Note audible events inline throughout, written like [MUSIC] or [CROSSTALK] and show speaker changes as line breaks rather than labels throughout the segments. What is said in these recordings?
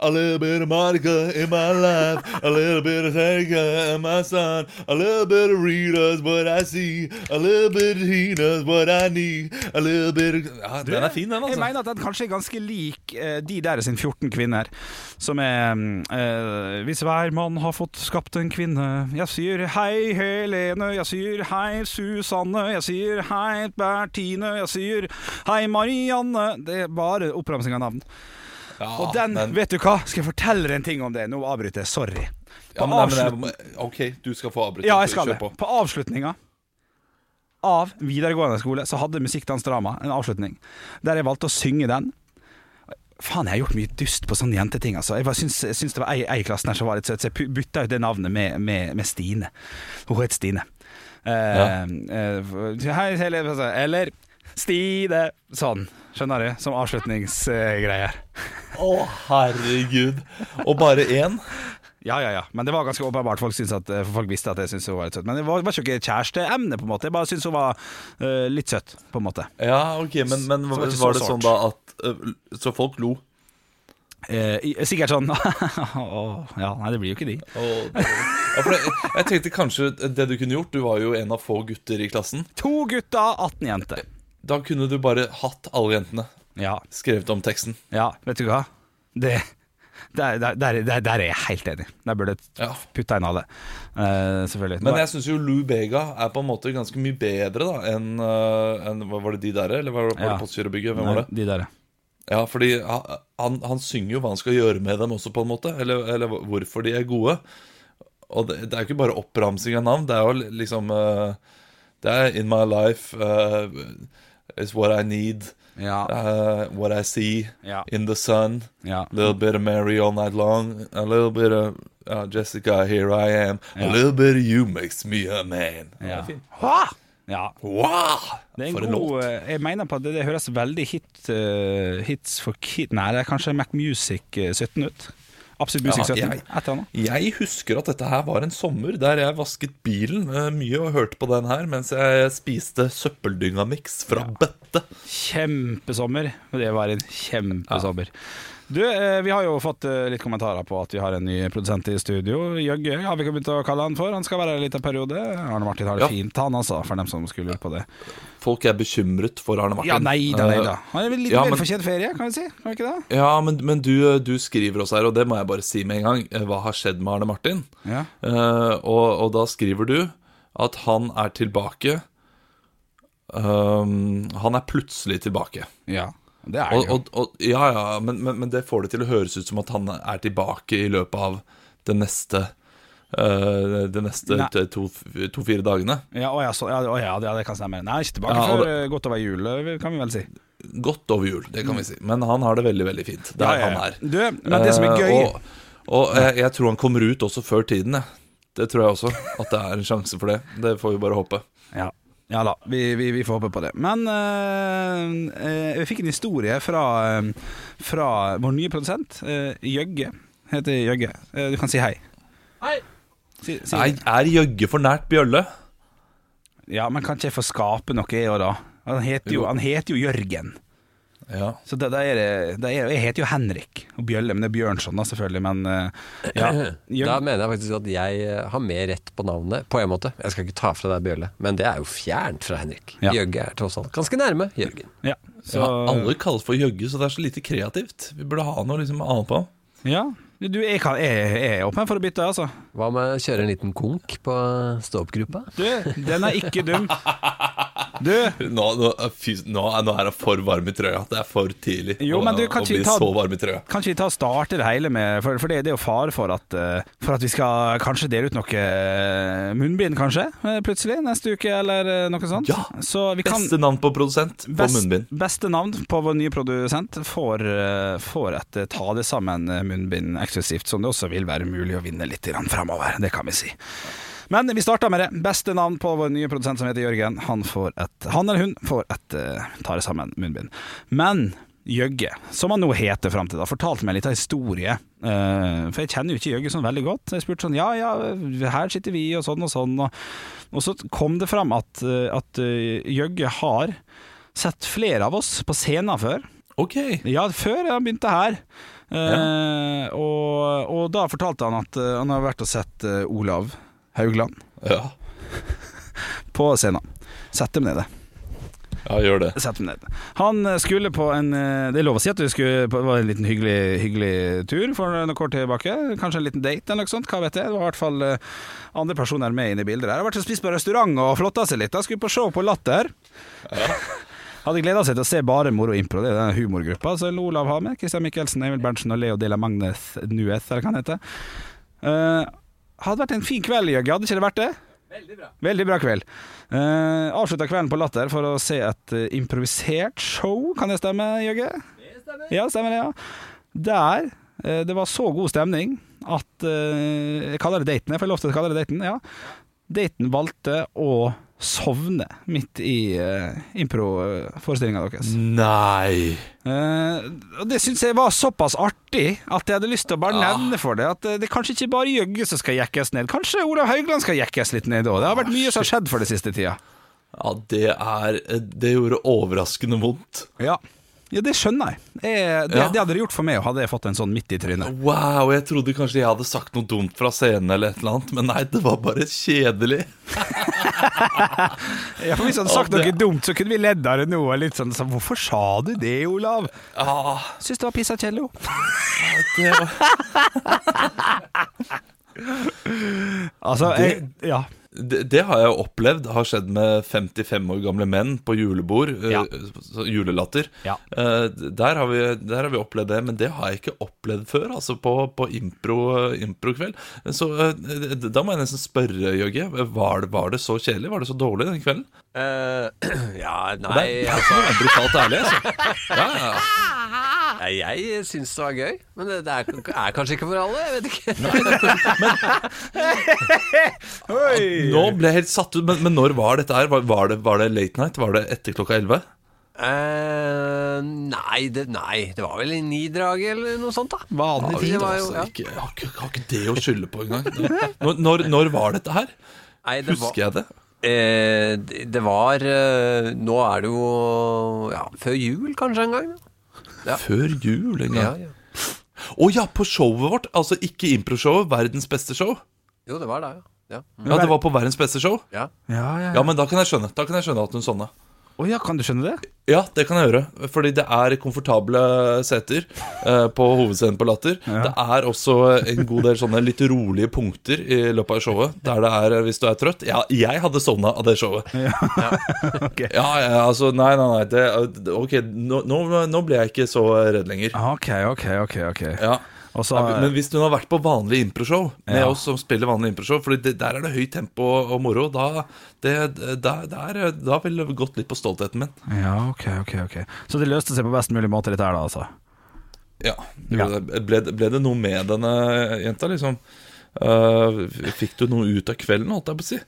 A little bit of Monica in my life. A little bit of Tanka in my son. A little bit of Rita's what I see. A little bit of Tina's what I need. A little bit of ja, Den er fin, den,
Jeg
altså.
mener at den kanskje er ganske lik eh, de der sin 14 kvinner, som er eh, Hvis hver mann har fått skapt en kvinne Jeg sier hei Helene, jeg sier hei Susanne, jeg sier hei Bertine, jeg sier hei Marianne Det er bare oppramsing av navn.
Ja,
Og den,
Ah, men-
vet du hva, skal jeg fortelle deg en ting om det? Nå avbryter jeg, sorry.
ja,
På,
men, nei,
avslut...
men, det er- OK, du skal få avbryte.
ja, jeg skal
Kjør
det.
på.
på avslutninga av videregående skole så hadde musikk, dans, drama en avslutning, der jeg valgte å synge den. Faen, jeg har gjort mye dust på sånne jenteting, altså. Jeg bare syns, jeg syns det var ei, ei i klassen her som var litt søt, så jeg pu- bytta ut det navnet med, med, med Stine. Hun het Stine. Eh, eh, hei, eller, eller Stine. Sånn, skjønner du? Som avslutningsgreier.
Å, herregud. Og bare én?
Ja, ja, ja. Men det var ganske åpenbart. Folk, syntes at, for folk visste at jeg syntes hun var litt søt. Men det var, var ikke kjæresteemne, på en måte. Jeg bare syntes hun var eh, litt søt, på en måte.
Ja, OK, men, men
Så
var,
det var ikke så
det sånn
sårt.
da at eh, Så folk lo?
Eh, i- sikkert sånn [LAUGHS] Åh, Ja, nei, det blir jo ikke de.
Og, ja, for jeg, jeg tenkte kanskje det du kunne gjort Du var jo en av få gutter i klassen.
To gutter, 18 jenter.
Da kunne du bare hatt alle jentene
Ja,
skrevet om teksten.
ja, vet du hva? Det der, der, der, der, der er jeg helt enig. Der burde jeg
Ja.
putta inn av det. Eh, selvfølgelig.
Men jeg syns jo Lou Bega er på en måte ganske mye bedre da enn eh, enn- hva Var det de der, eller var det, var
Ja.
det Postgirobygget? Hvem
Nei,
var det?
De der, ja.
Ja, fordi ha- han, han synger jo hva han skal gjøre med dem også, på en måte. Eller, eller hvorfor de er gode. Og det, det er jo ikke bare oppramsing av navn. Det er jo liksom eh, Det er In My Life eh, Is What I Need.
Ja,
eh, what I See.
ja,
In The Sun.
ja.
A little bit of Mary all night long. A little bit of uh, Jessica, here I am.
Ja.
A little bit of you makes me a man.
ja.
Det er fint.
Hva? ja.
Wow!
Det er
For
en
en
god,
låt.
eh, jeg mener på at det, det høres veldig hit, eh, hits for kid Nei, det er kanskje Mac Music eh, 17 ut. Absolutt Music
Ja,
17.
jeg-
Et eller annet.
Jeg husker at dette her var en sommer der jeg vasket bilen eh, mye og hørte på den her mens jeg spiste søppeldyngamix fra Bette.
Kjempesommer. Det var en kjempesommer. Du, eh, vi har jo fått eh, litt kommentarer på at vi har en ny produsent i studio. Jøgge har vi begynt å kalle han for. Han skal være her en liten periode. Arne Martin har det
Ja.
fint, han altså, for dem som skulle lure på det.
Folk er bekymret for Arne Martin.
Ja, nei da, nei da.
Eh,
Han er vel litt
ja, men-
velfortjent ferie, kan vi si? Kan vi ikke det?
Eh, Ja, men, men du, eh, du skriver oss her, og det må jeg bare si med en gang. eh, Hva har skjedd med Arne Martin?
Ja.
Eh, og, og da skriver du at han er tilbake. Um, han er plutselig tilbake.
ja. Det er
Og,
det jo.
og, og, ja, ja, men, men, men det får det til å høres ut som at han er tilbake i løpet av det neste eh, de neste
Nei.
t- to- to-fire dagene.
Ja, å, ja, så, ja, å, ja, det- ja, det kan stemme. Nei, ikke tilbake
Ja, og
før eh, godt over jul, eh, kan vi vel si.
Godt over jul, det kan vi si. Men han har det veldig veldig fint der
Mm. Ja, ja, ja.
han er.
Du, men det som er
Eh,
gøy
og og jeg, jeg tror han kommer ut også før tiden, jeg. Det tror jeg også. At det er en sjanse for det. Det får vi bare håpe.
ja. ja da, vi, vi, vi får håpe på det. Men eh, eh, vi fikk en historie fra, eh, fra vår nye produsent, eh, Jøgge. Heter Jøgge. Eh, du kan si hei.
Hei.
Si, si.
Nei, er Jøgge for nært Bjølle?
Ja, men kan ikke jeg få skape noe, jeg òg, da? Han heter jo, han heter jo Jørgen.
Ja.
Så da, da er det, da er, jeg heter jo Henrik og Bjølle, men det er Bjørnson, da, selvfølgelig. Men eh,
[CLEARS THROAT]
ja,
Da
Jøgge,
mener jeg faktisk at jeg eh, har mer rett på navnet, på en måte. Jeg skal ikke ta fra deg Bjølle, men det er jo fjernt fra Henrik.
Ja.
Jøgge er tross alt ganske nærme Jørgen.
ja, så,
ja, alle kaller for Jøgge, så det er så lite kreativt. Vi burde ha noe liksom annet på ham.
ja. Du, jeg, kan, jeg, jeg er åpen for å bytte, altså.
Hva med å kjøre en liten konk på stå-opp-gruppa?
Du, den er ikke dum. [LAUGHS] Du,
Nå, nå, fy, nå, er- nå er han for varm i trøya. Det er for tidlig
Jo,
å,
men du,
å
kanskje
bli
vi tar-
så varm i trøya.
kan ikke vi ta og starte det hele med For, for det, det er jo fare for at, eh, for at vi skal kanskje dele ut noe eh, munnbind, kanskje, eh, plutselig, neste uke, eller eh, noe sånt.
Ja,
Så vi kan
Beste navn på produsent på
best-
munnbind.
Beste navn på vår nye produsent får, eh, får et eh, ta det sammen eh, munnbind eksklusivt, som det også vil være mulig å vinne litt framover. Det kan vi si. Men vi starter med det. Beste navn på vår nye produsent som heter Jørgen. Han, får et, han eller hun får et eh, tar det sammen munnbind. Men Jøgge, som han nå heter fram til da, fortalte meg litt av historie. Eh, for jeg kjenner jo ikke Jøgge sånn veldig godt. Så jeg spurte sånn ja ja, her sitter vi og sånn og sånn. Og, og så kom det fram at, eh, at eh, Jøgge har sett flere av oss på scenen før.
Ok.
Ja, før han begynte her. Eh, Og da fortalte han at eh, han har vært og sett eh, Olav Haugland
Ja,
på scenen. Sett dem nede.
ja gjør det.
Sett dem ned. Han eh, skulle på en eh, Det er lov å si at du skulle på, det var en liten hyggelig, hyggelig tur for noen kort tilbake. Kanskje en liten date eller noe sånt, hva vet jeg. Det var i hvert fall eh, andre personer med inn i bildet der. Har vært og spist på restaurant og flotta seg litt. Da skulle på show på Latter. [LAUGHS] Hadde gleda seg til å se bare moro impro. Det er den humorgruppa som Olav har med. Christian Michelsen, Emil Berntsen og Leo Dela Magneth Nueth, eller hva han heter. Eh, hadde vært en fin kveld, Jøgge. Hadde ikke det vært det? Veldig bra kveld. Uh, avslutta kvelden på Latter for å se et eh, improvisert show, kan det stemme, Jøgge? Det stemmer. Ja, stemmer det, ja. Der eh, det var så god stemning at eh, Jeg kaller det daten, jeg får lov til å kalle det daten, ja. Daten valgte å sovne midt i uh, improforestillinga deres.
Nei!
Eh, og det syns jeg var såpass artig at jeg hadde lyst til å bare nevne for det at eh, det er kanskje ikke bare Jøgge som skal jekkes ned. Kanskje Olav Haugland skal jekkes litt ned òg. Det har vært mye som har skjedd for det siste tida.
Ja, det er Det gjorde overraskende vondt.
Ja. det skjønner jeg. jeg det,
Ja.
det hadde det gjort for meg, hadde jeg fått en sånn midt i trynet.
Wow, jeg trodde kanskje jeg hadde sagt noe dumt fra scenen eller et eller annet, men nei, det var bare kjedelig.
Ja, for Hvis han hadde sagt
Ja, det-
noe dumt, så kunne vi ledd av det nå. og Litt sånn, så, 'Hvorfor sa du det, Olav?'
Ja,
Syns det var pissa kjedelig, jo.
det var
Altså, jeg, ja.
det, det har jeg jo opplevd har skjedd med 55 år gamle menn på julebord. eh,
Ja.
så- julelatter.
Ja.
Eh, der, har vi, der har vi opplevd det, men det har jeg ikke opplevd før. Altså på, på impro, improkveld. Så eh, da må jeg nesten spørre, Jørge. Var, det- var det så kjedelig? Var det så dårlig den kvelden? altså,
Eh, [CLEARS THROAT] ja,
Det er,
nei
det er brutalt ærlig, altså. Ja, ja, ja.
Nei, Jeg syns det var gøy, men det, det er, er kanskje ikke for alle. Jeg vet ikke.
Nå ble jeg helt satt ut. Men, men når var dette her? Var, var, det, var det late night? Var det etter klokka 11?
Eh, nei, det, nei, det var vel i ni-draget eller noe sånt, da.
Vanlig
det
tid.
var jo,
Altså,
ja.
ikke, jeg har ikke, jeg har ikke det å skylde på engang. Når, når, når var dette her?
Nei, det var,
Husker jeg det?
eh, det- det var eh, Nå er det jo ja, før jul kanskje en gang. da. Ja.
Før jul en gang.
Ja,
Å ja.
ja.
på showet vårt. Altså ikke improshowet, verdens beste show.
Jo, det var det, ja. Ja.
Ja, det var på verdens beste show.
ja.
Ja, ja,
Ja, men da kan jeg skjønne Da kan jeg skjønne at hun sovna.
Å ja, kan du skjønne det?
Ja, det kan jeg gjøre. Fordi det er komfortable seter eh, på hovedscenen på Latter. Det er også en god del sånne litt rolige punkter i løpet av showet. Der det er eh, hvis du er trøtt. Ja, jeg hadde sovna av det showet. Ja,
[LAUGHS]
ja, altså Nei, nei, nei. Det, ok, nå, nå, nå ble jeg ikke så redd lenger.
Ah, Ok, ok, ok. ok
Ja
Og så
Nei, Men hvis hun har vært på vanlig improshow med
Ja.
oss som spiller vanlig improshow, for det, der er det høyt tempo og moro, da, det, der, der, da ville det gått litt på stoltheten min.
Ja, ok, ok. ok Så det løste seg på best mulig måte, dette her, da, altså?
Ja.
Ja.
Ble, det- ble det noe med denne jenta, liksom? Eh, fikk du noe ut av kvelden, holdt jeg på å si?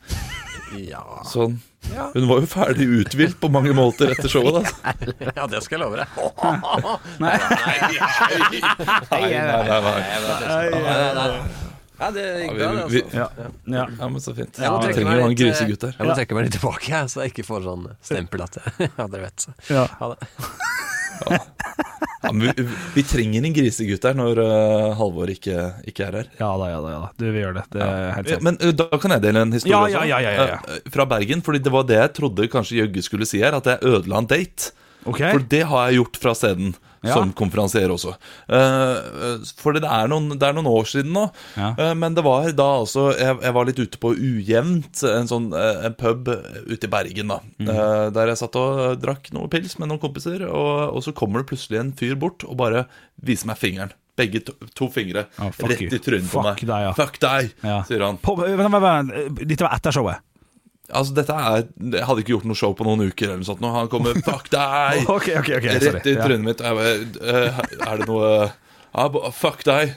ja.
[LAUGHS]
Sånn. Hun var jo ferdig uthvilt på mange måter etter showet, da.
Ja, det skal jeg love
[LAUGHS]
deg. Nei,
Nei, nei, nei. nei.
Ja, det gikk
Ja,
bra,
vi,
det, altså.
vi,
Ja. ja.
ja, men så fint.
Jeg må
Vi
trekke
trenger
meg
jo en
litt, eh,
grisegutt her.
Jeg må trekke meg litt tilbake, jeg, så jeg ikke får sånn stempel at
[LAUGHS]
jeg Ja, dere vet.
ja.
Ha det.
Ja, men vi, vi trenger en grisegutt her når eh, Halvor ikke, ikke er her.
Ja da, ja da. ja da Du, vi gjør det. Det er
Ja,
helt sant.
Eh, men ø, da kan jeg dele en historie
Ja,
også.
ja, ja, ja, ja.
Ø, Fra Bergen, fordi det var det jeg trodde kanskje Jøgge skulle si her, at jeg ødela en date.
Ok.
For det har jeg gjort fra scenen,
Ja.
som konferansier også. Uh, for det er, noen, det er noen år siden nå,
Ja.
Eh, men det var da altså jeg, jeg var litt ute på ujevnt, en sånn eh, en pub ute i Bergen, da.
Mhm.
eh, der jeg satt og drakk noe pils med noen kompiser, og, og så kommer det plutselig en fyr bort og bare viser meg fingeren. Begge to, to fingre
Ja, Ah, fuck
rett
you.
i trynet på meg.
Fuck deg, ja.
Fuck deg,
Ja.
sier han.
På, vent, vent, vent, vent. Dette var etter showet?
Altså, dette er Jeg hadde ikke gjort noe show på noen uker eller noe sånt. nå. Han kommer 'fuck deg'
[LAUGHS] Ok, ok, ok, sorry.
rett i trynet mitt. Og jeg bare «Eh, Er det noe ja, ba- 'Fuck deg'.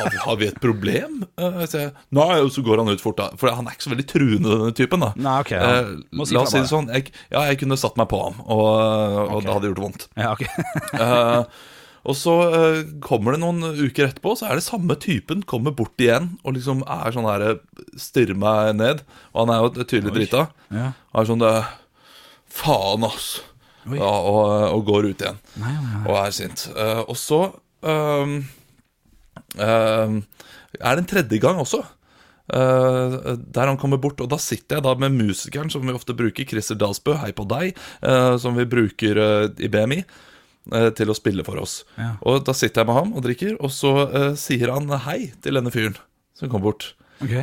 Har vi, har vi et problem? Eh, Så jeg, Nei, og så går han ut fort, da. For han er ikke så veldig truende, denne typen. da
Nei, ok, ja.
Eh,
Må si
La oss
fra
si det sånn. Jeg, ja, jeg kunne satt meg på ham, og, og det hadde gjort vondt.
Ja, ok. [LAUGHS]
Eh, og så eh, kommer det noen uker etterpå, så er det samme typen kommer bort igjen og liksom er sånn her eh, Stirrer meg ned. Og han er jo tydelig drita.
Ja.
Og er sånn det, Faen, ass.
Oi.
Ja, og, og går ut igjen
Nei, nei, nei.
og er sint. Eh, og så ehm, eh, er det en tredje gang også. eh, der han kommer bort, og da sitter jeg da med musikeren som vi ofte bruker, Christer Dalsbø, hei på deg, eh, som vi bruker eh, i BMI, eh, til å spille for oss.
Ja.
Og da sitter jeg med ham og drikker, og så eh, sier han hei til denne fyren som kom bort.
Ok,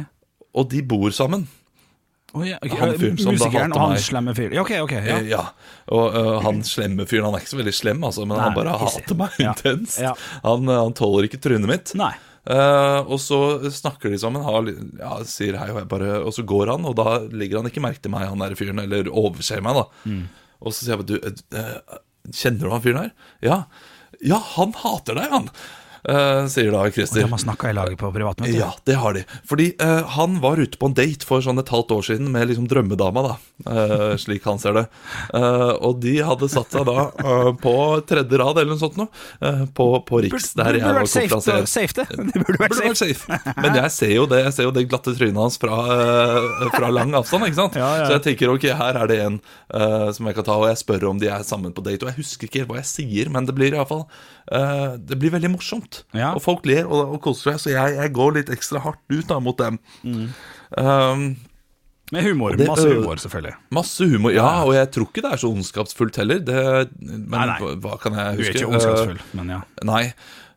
Og de bor sammen.
Å, ja, ok.
Han fyren som da
Musikeren
hater
og han
meg.
slemme fyren. Ja, ok, ok. Ja.
Ja. Eh, ja. Og ø, han slemme fyren, han er ikke så veldig slem, altså, men han
Nei,
bare
hissig.
hater meg
Ja.
intenst.
Ja.
Han, ø, han tåler ikke trynet mitt.
Nei.
Eh, og så snakker de sammen, har, li- ja, sier hei, og, jeg bare, og så går han, og da legger han ikke merke til meg, han der fyren, eller overser meg, da.
Mm.
Og så sier jeg bare, du, ø, ø, kjenner du han fyren her? Ja. Ja, han hater deg, han! eh, sier da
De
Christer.
har snakka i laget på privatmøte.
Ja, det har de. Fordi eh, han var ute på en date for sånn et halvt år siden med liksom drømmedama, da. Eh, [LAUGHS] slik han ser det. Eh, og de hadde satt seg da eh, på tredje rad eller noe sånt nå, eh, på, på Riks, der jeg
det burde
var
vært safe,
konferansier.
safe det. [LAUGHS] Det burde vært
Burde
safe.
vært safe. Men jeg ser jo det Jeg ser jo det glatte trynet hans fra, eh, fra lang avstand. ikke sant?
[LAUGHS] Ja, ja.
Så jeg tenker ok, her er det en eh, som jeg kan ta, og jeg spør om de er sammen på date. Og jeg husker ikke helt hva jeg sier, men det blir iallfall uh, Det blir veldig morsomt.
Ja.
Og folk ler og, og koser seg, så jeg, jeg går litt ekstra hardt ut da mot dem.
Mm.
Um,
Med humor.
Det- øh,
Masse humor, selvfølgelig.
masse humor. Ja, og jeg tror ikke det er så ondskapsfullt heller. Det, men
Nei, nei.
Hva, hva kan jeg
Du er
huske?
ikke
Eh,
ondskapsfull, men ja.
Nei,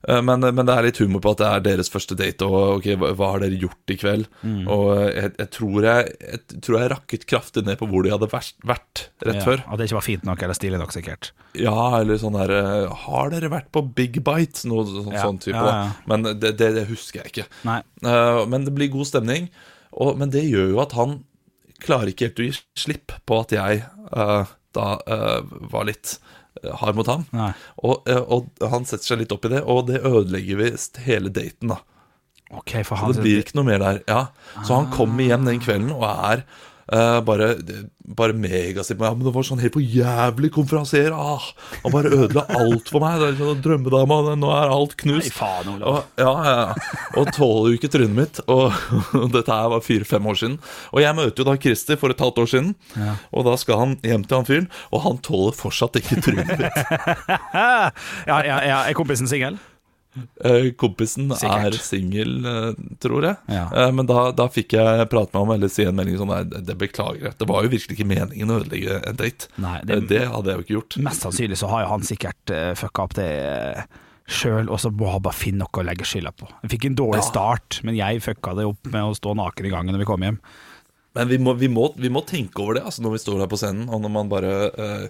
eh, men, men det er litt humor på at det er deres første date, og ok, hva, hva har dere gjort i kveld?
Mm.
Og eh, jeg, jeg, tror jeg, jeg tror jeg rakket kraftig ned på hvor de hadde vært, vært rett
ja.
før.
At det ikke var fint nok eller stilig nok, sikkert.
Ja, eller sånn der eh, Har dere vært på Big Bite? Noe sånn,
Ja,
sånn type.
ja, ja.
Da. Men det, det, det husker jeg ikke.
Nei.
Eh, Men det blir god stemning, og, men det gjør jo at han klarer ikke helt å gi slipp på at jeg eh, da eh, var litt eh, hard mot ham.
Nei.
Og, eh, og han setter seg litt opp i det, og det ødelegger visst hele daten. da
Ok, for
Så
han
det blir ikke noe mer der. Ja. Så han
Ah.
kommer hjem den kvelden og er eh, bare, bare megasint. Ja, men det var sånn helt for jævlig konferansier. Ah, han bare ødela alt for meg. Det er sånn Drømmedama, det- nå er alt
Nei,
knust.
faen, Olav.
og, ja, ja, ja. og tåler jo ikke trynet mitt. Og, [LAUGHS] og dette her var fire-fem år siden. Og jeg møter jo da Christer for et halvt år siden. Og da skal han hjem til han fyren, og han tåler fortsatt ikke trynet mitt.
Ja, ja, ja, er kompisen singel?
Eh, Kompisen
Sikkert.
er singel, eh, tror jeg.
Ja.
Eh, Men da, da fikk jeg prate med ham eller si en melding sånn Nei, det- det beklager jeg. Det var jo virkelig ikke meningen å ødelegge en date.
Nei,
Eh,
det-
det hadde jeg jo ikke gjort.
Mest sannsynlig så har jo han sikkert eh, fucka opp det uh, sjøl, og så må han bare finne noe å legge skylda på. Jeg fikk en dårlig start, men jeg fucka det opp med å stå naken i gangen når vi kom hjem.
Men vi må, vi må, vi må tenke over det altså når vi står der på scenen, og når man bare eh,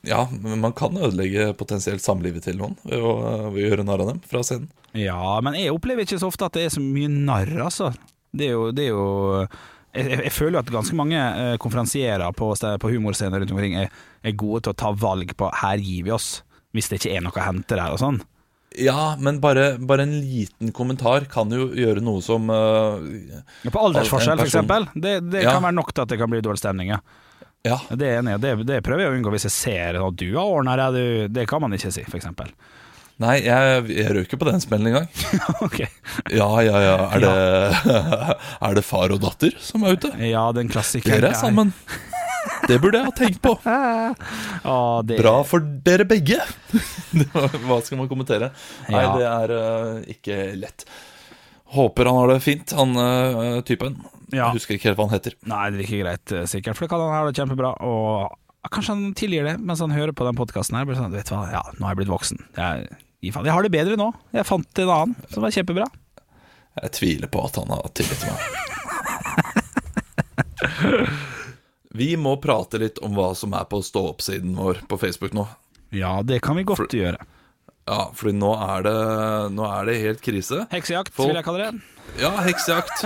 Ja, men man kan ødelegge potensielt samlivet til noen ved å, eh, ved å gjøre narr av dem fra scenen.
Ja, men jeg opplever ikke så ofte at det er så mye narr, altså. Det er jo, det er jo jeg, jeg- jeg føler jo at ganske mange eh, konferansierer på, ste- på humorscener rundt omkring er, er gode til å ta valg på 'her gir vi oss', hvis det ikke er noe å hente der og sånn.
Ja, men bare, bare en liten kommentar kan jo gjøre noe som eh,
Ja, På aldersforskjell,
En
f.eks.
person-
Det, det
Ja.
kan være nok til at det kan bli dårlig stemning. Ja.
Ja,
Det, er jeg enig, i, det, det prøver jeg å unngå hvis jeg ser at du har ordna deg. du- Det kan man ikke si, f.eks. [LAUGHS]
nei, jeg, jeg røk jo på den smellen en gang.
okay.
Ja, ja, ja. Er det, [LAUGHS] er det far og datter som er ute?
Ja, den klassikeren.
Dere er sammen. Det burde jeg ha tenkt på.
Ja, det,
Bra for dere
[LAUGHS]
begge. Hva skal man kommentere? Nei,
Ja.
det er eh, ikke lett. Håper han har det fint, han eh, typen.
Ja.
Jeg husker ikke helt hva han heter.
Nei, det er ikke greit, eh, sikkert. For det kan han ha det kjempebra. Og kanskje han tilgir det mens han hører på den podkasten her. Blir sånn, vet du hva, ja, nå har jeg blitt voksen. Jeg, gi faen. jeg har det bedre nå. Jeg fant en annen som var kjempebra.
Jeg tviler på at han har tillit til meg.
[LAUGHS]
Vi må prate litt om hva som er på stå-opp-siden vår på Facebook nå.
Ja, det kan vi godt gjøre.
Ja, fordi nå er det, nå er det helt krise.
Heksejakt,
Folk-
vil jeg kalle det.
Ja, heksejakt.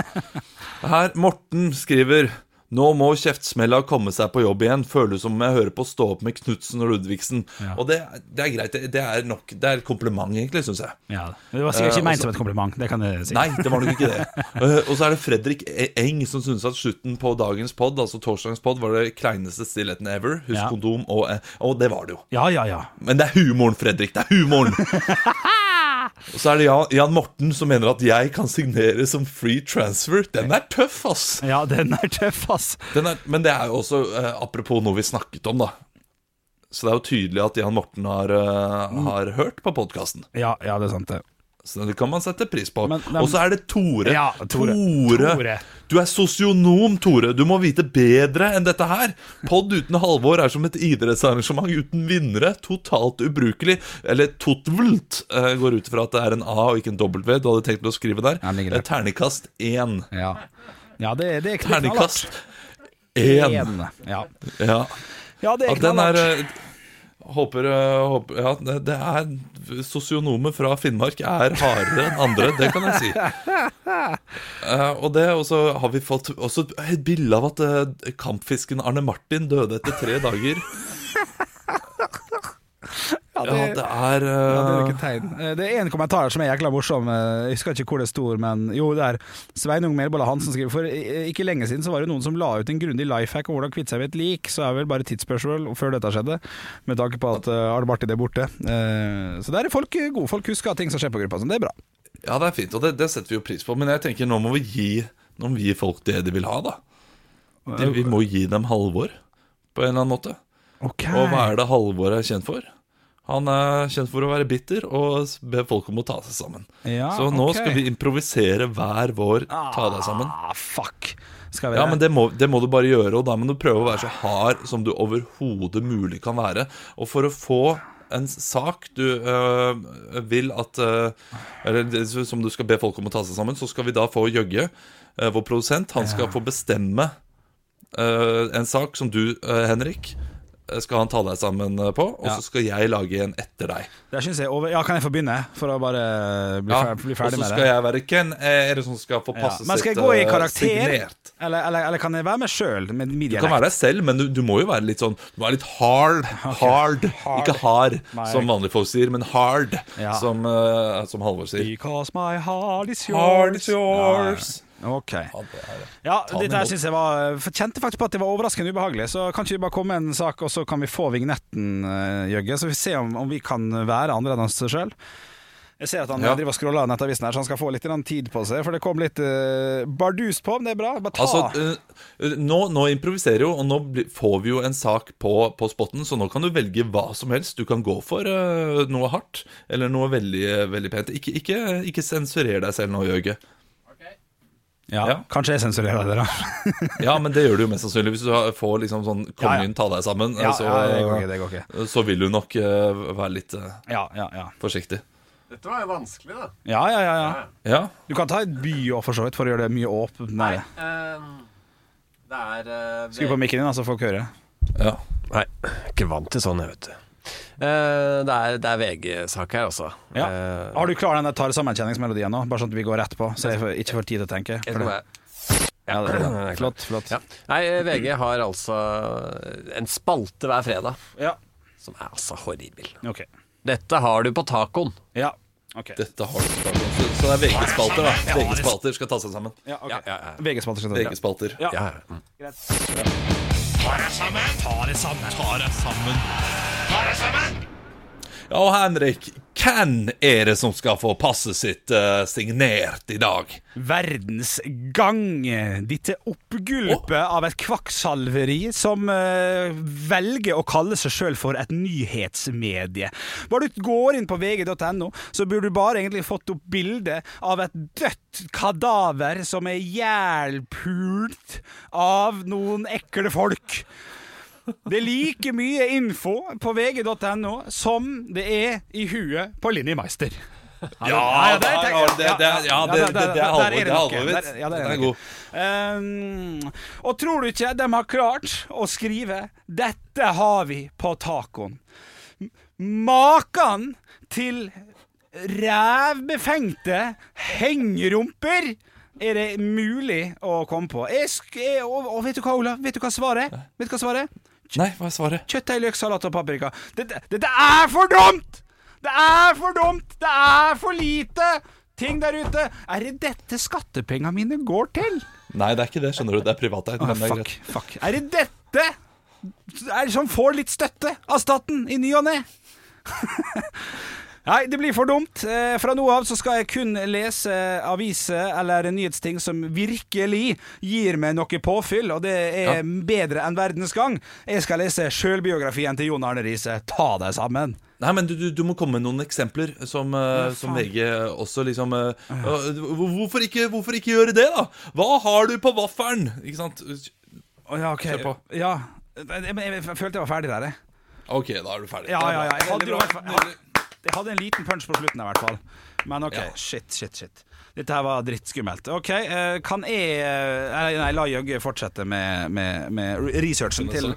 Her, Morten skriver Nå må kjeftsmella komme seg på jobb igjen. Føles som om jeg hører på Stå opp med Knutsen og Ludvigsen. Og det, det er greit. Det, det er nok Det er et kompliment, egentlig, syns jeg.
Ja, det var sikkert
Eh,
ikke ment som et kompliment, det kan jeg si.
Nei, det var nok ikke det. Eh, og så er det Fredrik E- Eng som syns at slutten på dagens pod, altså torsdagens pod, var det kleineste stillheten ever. Husk
Ja.
kondom og eh, Og det var det jo.
Ja, ja, ja.
Men det er humoren, Fredrik. Det er humoren! Og så er det Jan, Jan Morten som mener at jeg kan signere som free transfer. Den er tøff, ass!
Ja, den er tøff, ass.
Den er, men det er jo også eh, apropos noe vi snakket om, da.
Mm.
Så det er jo tydelig at Jan Morten har, eh, har hørt på podkasten.
Ja, ja, det er sant det.
Så det kan man sette pris på.
Men- men-
Og så er det Tore.
Ja, Tore.
Tore.
Tore.
Du er sosionom, Tore. Du må vite bedre enn dette her. Pod uten Halvor er som et idrettsarrangement uten vinnere. Totalt ubrukelig. Eller totvult. eh, Går ut ifra at det er en A og ikke en W du hadde tenkt å skrive der.
Ja, den ligger der.
Eh, Terningkast én.
Ja, ja det, det er knallhardt.
Terningkast én.
En. Ja.
Ja.
ja, det
Ja, den
er
er
knallhardt.
eh, Håper, eh, håper Ja, det det er Sosionomer fra Finnmark er hardere enn andre, det kan jeg si.
[LAUGHS]
Eh, og det, og så har vi fått også et bilde av at eh, kampfisken Arne Martin døde etter tre dager. Ja,
Ja, det-
det er
Ja, det er
eh,
ikke tegn. Eh, Det er en kommentar her som er jækla morsom. Eh, Jeg husker ikke hvor det stod, men jo, det er Sveinung Melbolla Hansen skriver For eh, ikke lenge siden så var det noen som la ut en grundig lifehack om hvordan kvitte seg med et lik, så er det vel bare tidsspørsmål før dette skjedde, med tanke på at eh, Arne Martin er borte. Eh, Så der er folk eh, gode. Folk husker ting som skjer på gruppa, så det er bra.
Ja, det er fint, og det, det setter vi jo pris på. Men jeg tenker nå må vi gi Nå må vi gi folk det de vil ha, da. De, vi må gi dem Halvor på en eller annen måte.
Ok.
Og hva er det Halvor er kjent for? Han er kjent for å være bitter og be folk om å ta seg sammen.
Ja,
så nå
Ah, ok.
skal vi improvisere hver vår ta deg sammen.
Ah, fuck. Skal vi
Ja, men det må, det må du bare gjøre, og da må du prøve å være så hard som du overhodet mulig kan være. Og for å få en sak du øh, vil at øh, Eller det- som du skal be folk om å ta seg sammen, så skal vi da få Jøgge, øh, vår produsent, han skal få bestemme øh, en sak som du, øh, Henrik, øh, skal han ta deg sammen øh, på, og
Ja.
så skal jeg lage en etter deg.
Der synes jeg over... Ja, kan jeg få begynne? For å bare bli,
Ja,
fer bli
og
ferdig
så
med det.
skal jeg være Ken eh, Er det som skal få
Ja.
passe
Men skal jeg
sitt,
gå i
eh,
karakter?
signert?
Eller, eller, eller kan jeg være meg sjøl? Med min
Du kan være deg selv, men du, du må jo være litt sånn Du må være litt
[LAUGHS]
hard. Hard. Ikke hard,
Nei.
som vanlige folk sier, men hard,
Ja.
som, eh, som Halvor sier.
Because my heart is yours.
Hard is yours.
Ja, ok.
Ja, det er det.
Ja,
den
dette her
imot.
synes jeg var for jeg Kjente faktisk på at det var overraskende ubehagelig. Så kan ikke vi bare komme med en sak, og så kan vi få vignetten, eh, Jøgge? Så vi ser om, om vi kan være andre enn oss sjøl. Jeg ser at han
Ja.
driver og scroller nettavisen her, så han skal få litt grann tid på seg. For det kom litt eh, bardust på, men det er bra. Bare ta
Altså, eh, nå, nå improviserer jo, og nå blir- får vi jo en sak på, på spotten, så nå kan du velge hva som helst. Du kan gå for eh, noe hardt, eller noe veldig, veldig pent. Ikke, ikke, ikke sensurer deg selv nå, Jøge.
ja,
ja.
Kanskje jeg sensurerer det, da.
Ja, men det gjør du jo mest sannsynlig hvis du har- får liksom sånn
Ja, ja.
Kongen, ta deg sammen. eh,
Ja,
så,
ja, det går ikke, det går ikke.
så vil du nok eh, være litt eh,
Ja, ja, ja.
forsiktig.
Dette var jo vanskelig, da.
Ja, ja, ja, ja.
Ja,
Du kan ta et by òg, for så vidt, for å gjøre det mye åpnere.
Ehm, det er eh,
Skru på mikken din, da, så folk hører.
ja.
Nei, ikke vant til sånn, jeg, vet du. Eh, det er, det er VG-sak her, altså.
Ja.
Eh,
Har du klar den der tar sammenkjenningsmelodien nå? Bare sånn at vi går rett på, så jeg får- ikke får tid til å tenke.
jeg skal bare-
Ja, det,
den er klar.
flott, flott.
ja. Nei, eh, VG har altså en spalte hver fredag
Ja.
som er altså horribel.
Ok.
Dette har du på tacoen.
Ja. Ok.
Dette har du klart. altså. Så det er VG-spalter, da. VG-spalter skal ta seg sammen.
Ja, ok.
Ja, ja, ja.
VG-spalter skal ta det.
VG-spalter.
Ja.
Ja, ja. Mm.
Ja, og Henrik, hvem er det som skal få passet sitt eh, signert i dag?
Verdensgang. Dette oppgulpet av et kvakksalveri som eh, velger å kalle seg sjøl for et nyhetsmedie. Bare du går inn på vg.no, så burde du bare egentlig fått opp bilde av et dødt kadaver som er jælpult av noen ekle folk. Det er like mye info på vg.no som det er i huet på Linni Meister.
Ja,
det er-
der har du det, det er- ja, det- det- det er
der
Halvor,
det
det er
noe.
Halvor, vet
Der-
du.
ja, der
Den er
noe. Um, og tror du ikke de har klart å skrive 'Dette har vi på tacoen'? M- Makan til rævbefengte hengerumper er det mulig å komme på. Jeg sk jeg, og, og vet du hva, Olav? Vet du hva svaret er? Vet du hva svaret er?
Nei, hva er svaret?
Kjøttdeig, løk, salat og paprika. Dette, dette er for dumt! Det er for dumt! Det er for lite ting der ute! Er det dette skattepengene mine går til?
Nei, det er ikke det, skjønner du. Det er privateid.
Ah,
Men det er
fuck,
greit.
fuck. Er det dette er det som får litt støtte av staten i ny og ne? [LAUGHS] Nei, det blir for dumt. Eh, Fra nå av så skal jeg kun lese aviser eller nyhetsting som virkelig gir meg noe påfyll, og det er
Ja.
bedre enn Verdens Gang. Jeg skal lese sjølbiografien til Jon Arne Riise. Ta deg sammen.
Nei, men du, du, du må komme med noen eksempler som, eh, som VG også liksom eh,
Ah.
ja, hvor- hvorfor, ikke, hvorfor ikke gjøre det, da? Hva har du på vaffelen? Ikke sant?
Å, ja, ok.
Kjør på.
Ja. Men jeg, jeg, jeg følte jeg var ferdig der, jeg.
Ok, da er du ferdig.
Ja, ja, ja. Jeg hadde,
Veldig
jo
bra.
i hvert fall- jeg hadde- jeg hadde en liten punch på slutten, i hvert fall. Men OK,
Ja.
shit, shit, shit. Dette her var drittskummelt. OK, eh, kan jeg eh, Nei, la Jøgge fortsette med, med, med re-
Sånn,
researchen til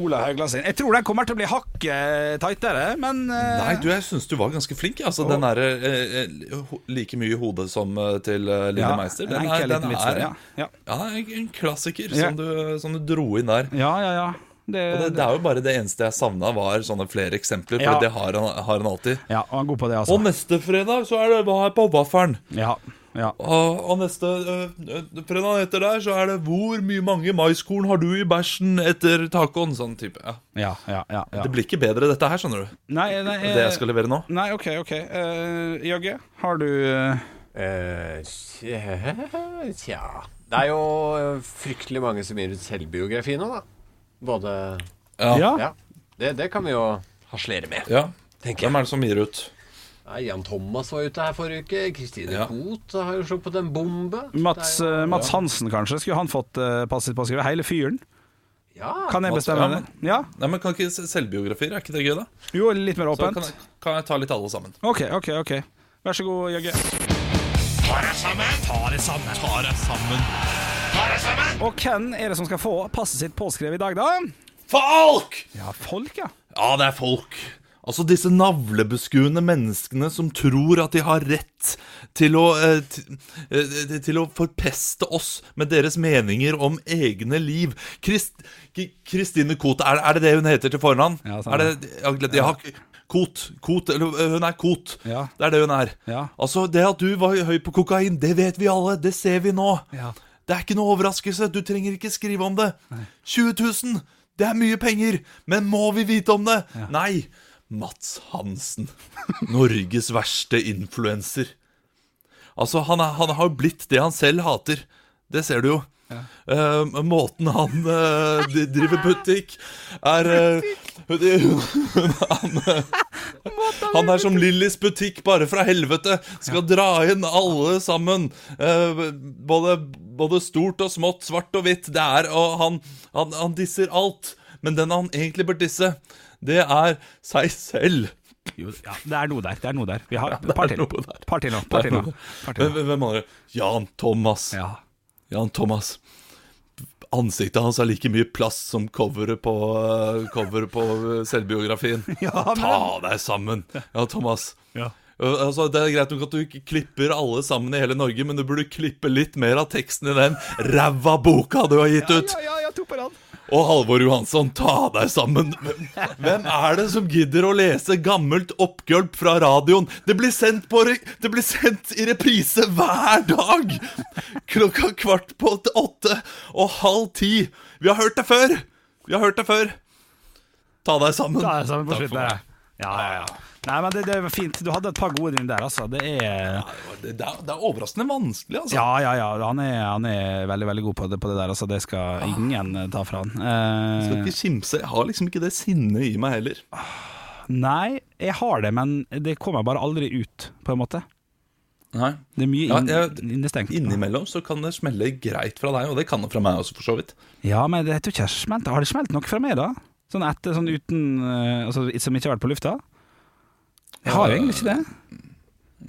Ola Haugland sin. Jeg tror den kommer til å bli hakket tightere, men eh,
Nei, du, jeg syns du var ganske flink. jeg. Altså, Den er eh, eh, ho- like mye i hodet som eh, til eh, Linni
ja,
Meister.
en
Den
enkel
er, den
liten vits der,
er
ja. Ja.
ja, en en klassiker
Ja.
som, du, som du dro inn der.
ja, ja, ja. Det,
Og det, det er jo bare det eneste jeg savna, var sånne flere eksempler. For
Ja.
det har han, har han alltid.
ja, og han er god på det, altså.
Og neste fredag så er det hva er på vaffelen?
Ja, ja.
Og, og neste øh, øh, fredag etter der så er det hvor mye mange maiskorn har du i bæsjen etter tacoen? Sånn type. Ja.
Ja, ja, ja, ja.
Det blir ikke bedre dette her, skjønner du.
Nei, nei,
Det jeg
eh,
skal levere nå.
nei OK, OK. Eh, Jøgge, har du eh,
Eh, Tja Det er jo fryktelig mange som gir ut selvbiografi nå, da. Både
Ja.
Ja. Det, det kan vi jo harselere med.
ja.
tenker jeg.
Hvem er det som gir ut?
Nei, Jan Thomas var ute her forrige uke. Kristine
Ja.
Koht har jo sluppet en bombe.
Mats,
Det er jo-
eh, Mats Hansen, kanskje? Skulle han fått eh, passet på å skrive hele fyren?
ja.
Kan jeg
Mats-
bestemme
ja,
det? Ja?
Nei, men Kan ikke se- selvbiografier? Er ikke det gøy, da?
Jo, litt mer
Så kan
åpent?
jeg, kan jeg ta litt alle sammen.
OK, OK. ok Vær så god, Jøgge. Og hvem er det som skal få passet sitt påskrevet i dag, da?
Folk!
Ja, folk, ja.
Ja, det er folk. Altså disse navlebeskuende menneskene som tror at de har rett til å, eh, t- eh, til å forpeste oss med deres meninger om egne liv. Krist, K- Kristine Koht, er, er det det hun heter til fornavn?
Ja, sant.
er det, jeg har glemt- jeg har ikke- Koht. Koht, eller eh, hun er Koht.
Ja.
Det er det hun er.
Ja.
Altså, det at du var høy på kokain, det vet vi alle. Det ser vi nå.
Ja.
Det er ikke noe overraskelse, du trenger ikke skrive om det. 20 000, det er mye penger, men må vi vite om det? Nei. Mats Hansen, Norges verste influenser. Altså, han, er, han har jo blitt det han selv hater. Det ser du jo. Eh, måten han eh, de- driver butikk er eh, hun- han, eh, han er som Lillys butikk, bare fra helvete. Skal dra inn alle sammen. Eh, både, både stort og smått, svart og hvitt. Det er, og han, han, han disser alt. Men den han egentlig bør disse, det er seg selv.
Jo, ja. Det er noe der. Det er noe der. Vi har et par
er
til.
noe der.
Par til nå. Par til nå. Par til nå.
Hvem hvem andre? Jan Thomas.
Ja.
Jan Thomas. Ansiktet hans har like mye plass som coveret på, eh, coveret på eh, selvbiografien.
[LAUGHS] Ja, men-
Ta deg sammen, Jan Thomas.
Ja.
Uh, Altså, det er greit nok at du ikke klipper alle sammen i hele Norge, men du burde klippe litt mer av teksten i den ræva boka du har gitt ut.
ja, ja, to på rad.
Og Halvor Johansson, ta deg sammen. Hvem- Hvem er det som gidder å lese gammelt oppgulp fra radioen? Det blir sendt, på re det blir sendt i reprise hver dag! Klokka kvart på åtte- åtte og halv ti. Vi har hørt det før! Vi har hørt det før. Ta deg sammen.
Da er det sammen på
Takk for
slutten.
meg.
der, Ja, ja, ja. Nei, men det, det var fint. Du hadde et par gode runder der, altså. Det er
Det, det, er, det er overraskende vanskelig, altså.
Ja, ja, ja. Han er, han er veldig veldig god på det, på det der. Altså, det skal ingen eh, ta fra han. Eh,
Ah. Skal ikke kimse. Jeg har liksom ikke det sinnet i meg heller.
nei, jeg har det, men det kommer bare aldri ut, på en måte.
Nei.
Det er mye
Ja,
inn,
jeg-
innestengt.
Innimellom så kan det smelle greit fra deg, og det kan det fra meg også, for så vidt.
Ja, men det, jeg tror ikke jeg har smelt. Har det smelt nok fra meg, da? Sånn etter, sånn uten eh, altså, Som ikke har vært på lufta? Jeg har jo egentlig ikke det.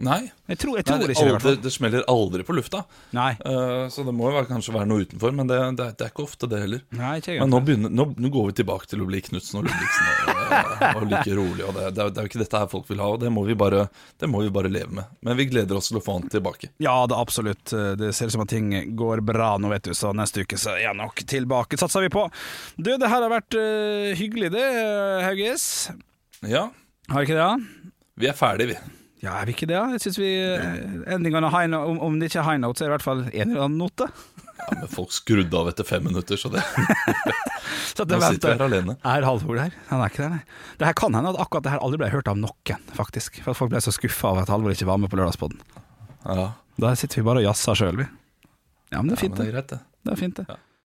Nei.
Jeg tror,
Nei,
jeg tror
det,
ikke det, i hvert
aldri,
fall.
det smeller aldri på lufta,
Nei.
Eh, så det må jo være, kanskje være noe utenfor. Men det, det, er- det er ikke ofte, det heller.
nei, ikke
Men
jeg.
nå, begynner, nå, nå går vi tilbake til å bli Knutsen og Ludvigsen og, og like rolig. Og det, det, er, det er jo ikke dette her folk vil ha, og det må, vi bare, det må vi bare leve med. Men vi gleder oss til å få han tilbake.
Ja, det er absolutt. Det ser ut som at ting går bra nå, vet du, så neste uke så er jeg nok tilbake, satser vi på. Du, det her har vært eh, hyggelig, det, eh, Haugis.
Ja,
Har ikke det, da?
vi er ferdige, vi.
Ja, er vi ikke det? da? Jeg synes vi eh, Endingene har high no- om, om det ikke er high note, så er det i hvert fall en eller annen note. [LAUGHS]
Ja, men folk skrudde av etter fem minutter, så det,
Så
nå sitter vi
det
her
venter.
alene.
Er Halvor der? Han er ikke der, nei. Det her kan hende at akkurat det her aldri ble hørt av noen, faktisk. For at folk ble så skuffa over at Halvor ikke var med på Lørdagspodden.
Ja,
Da sitter vi bare og jazzer sjøl, vi. Ja, men det
ja men
er fint,
det er
det.
greit, det.
Det er fint, det.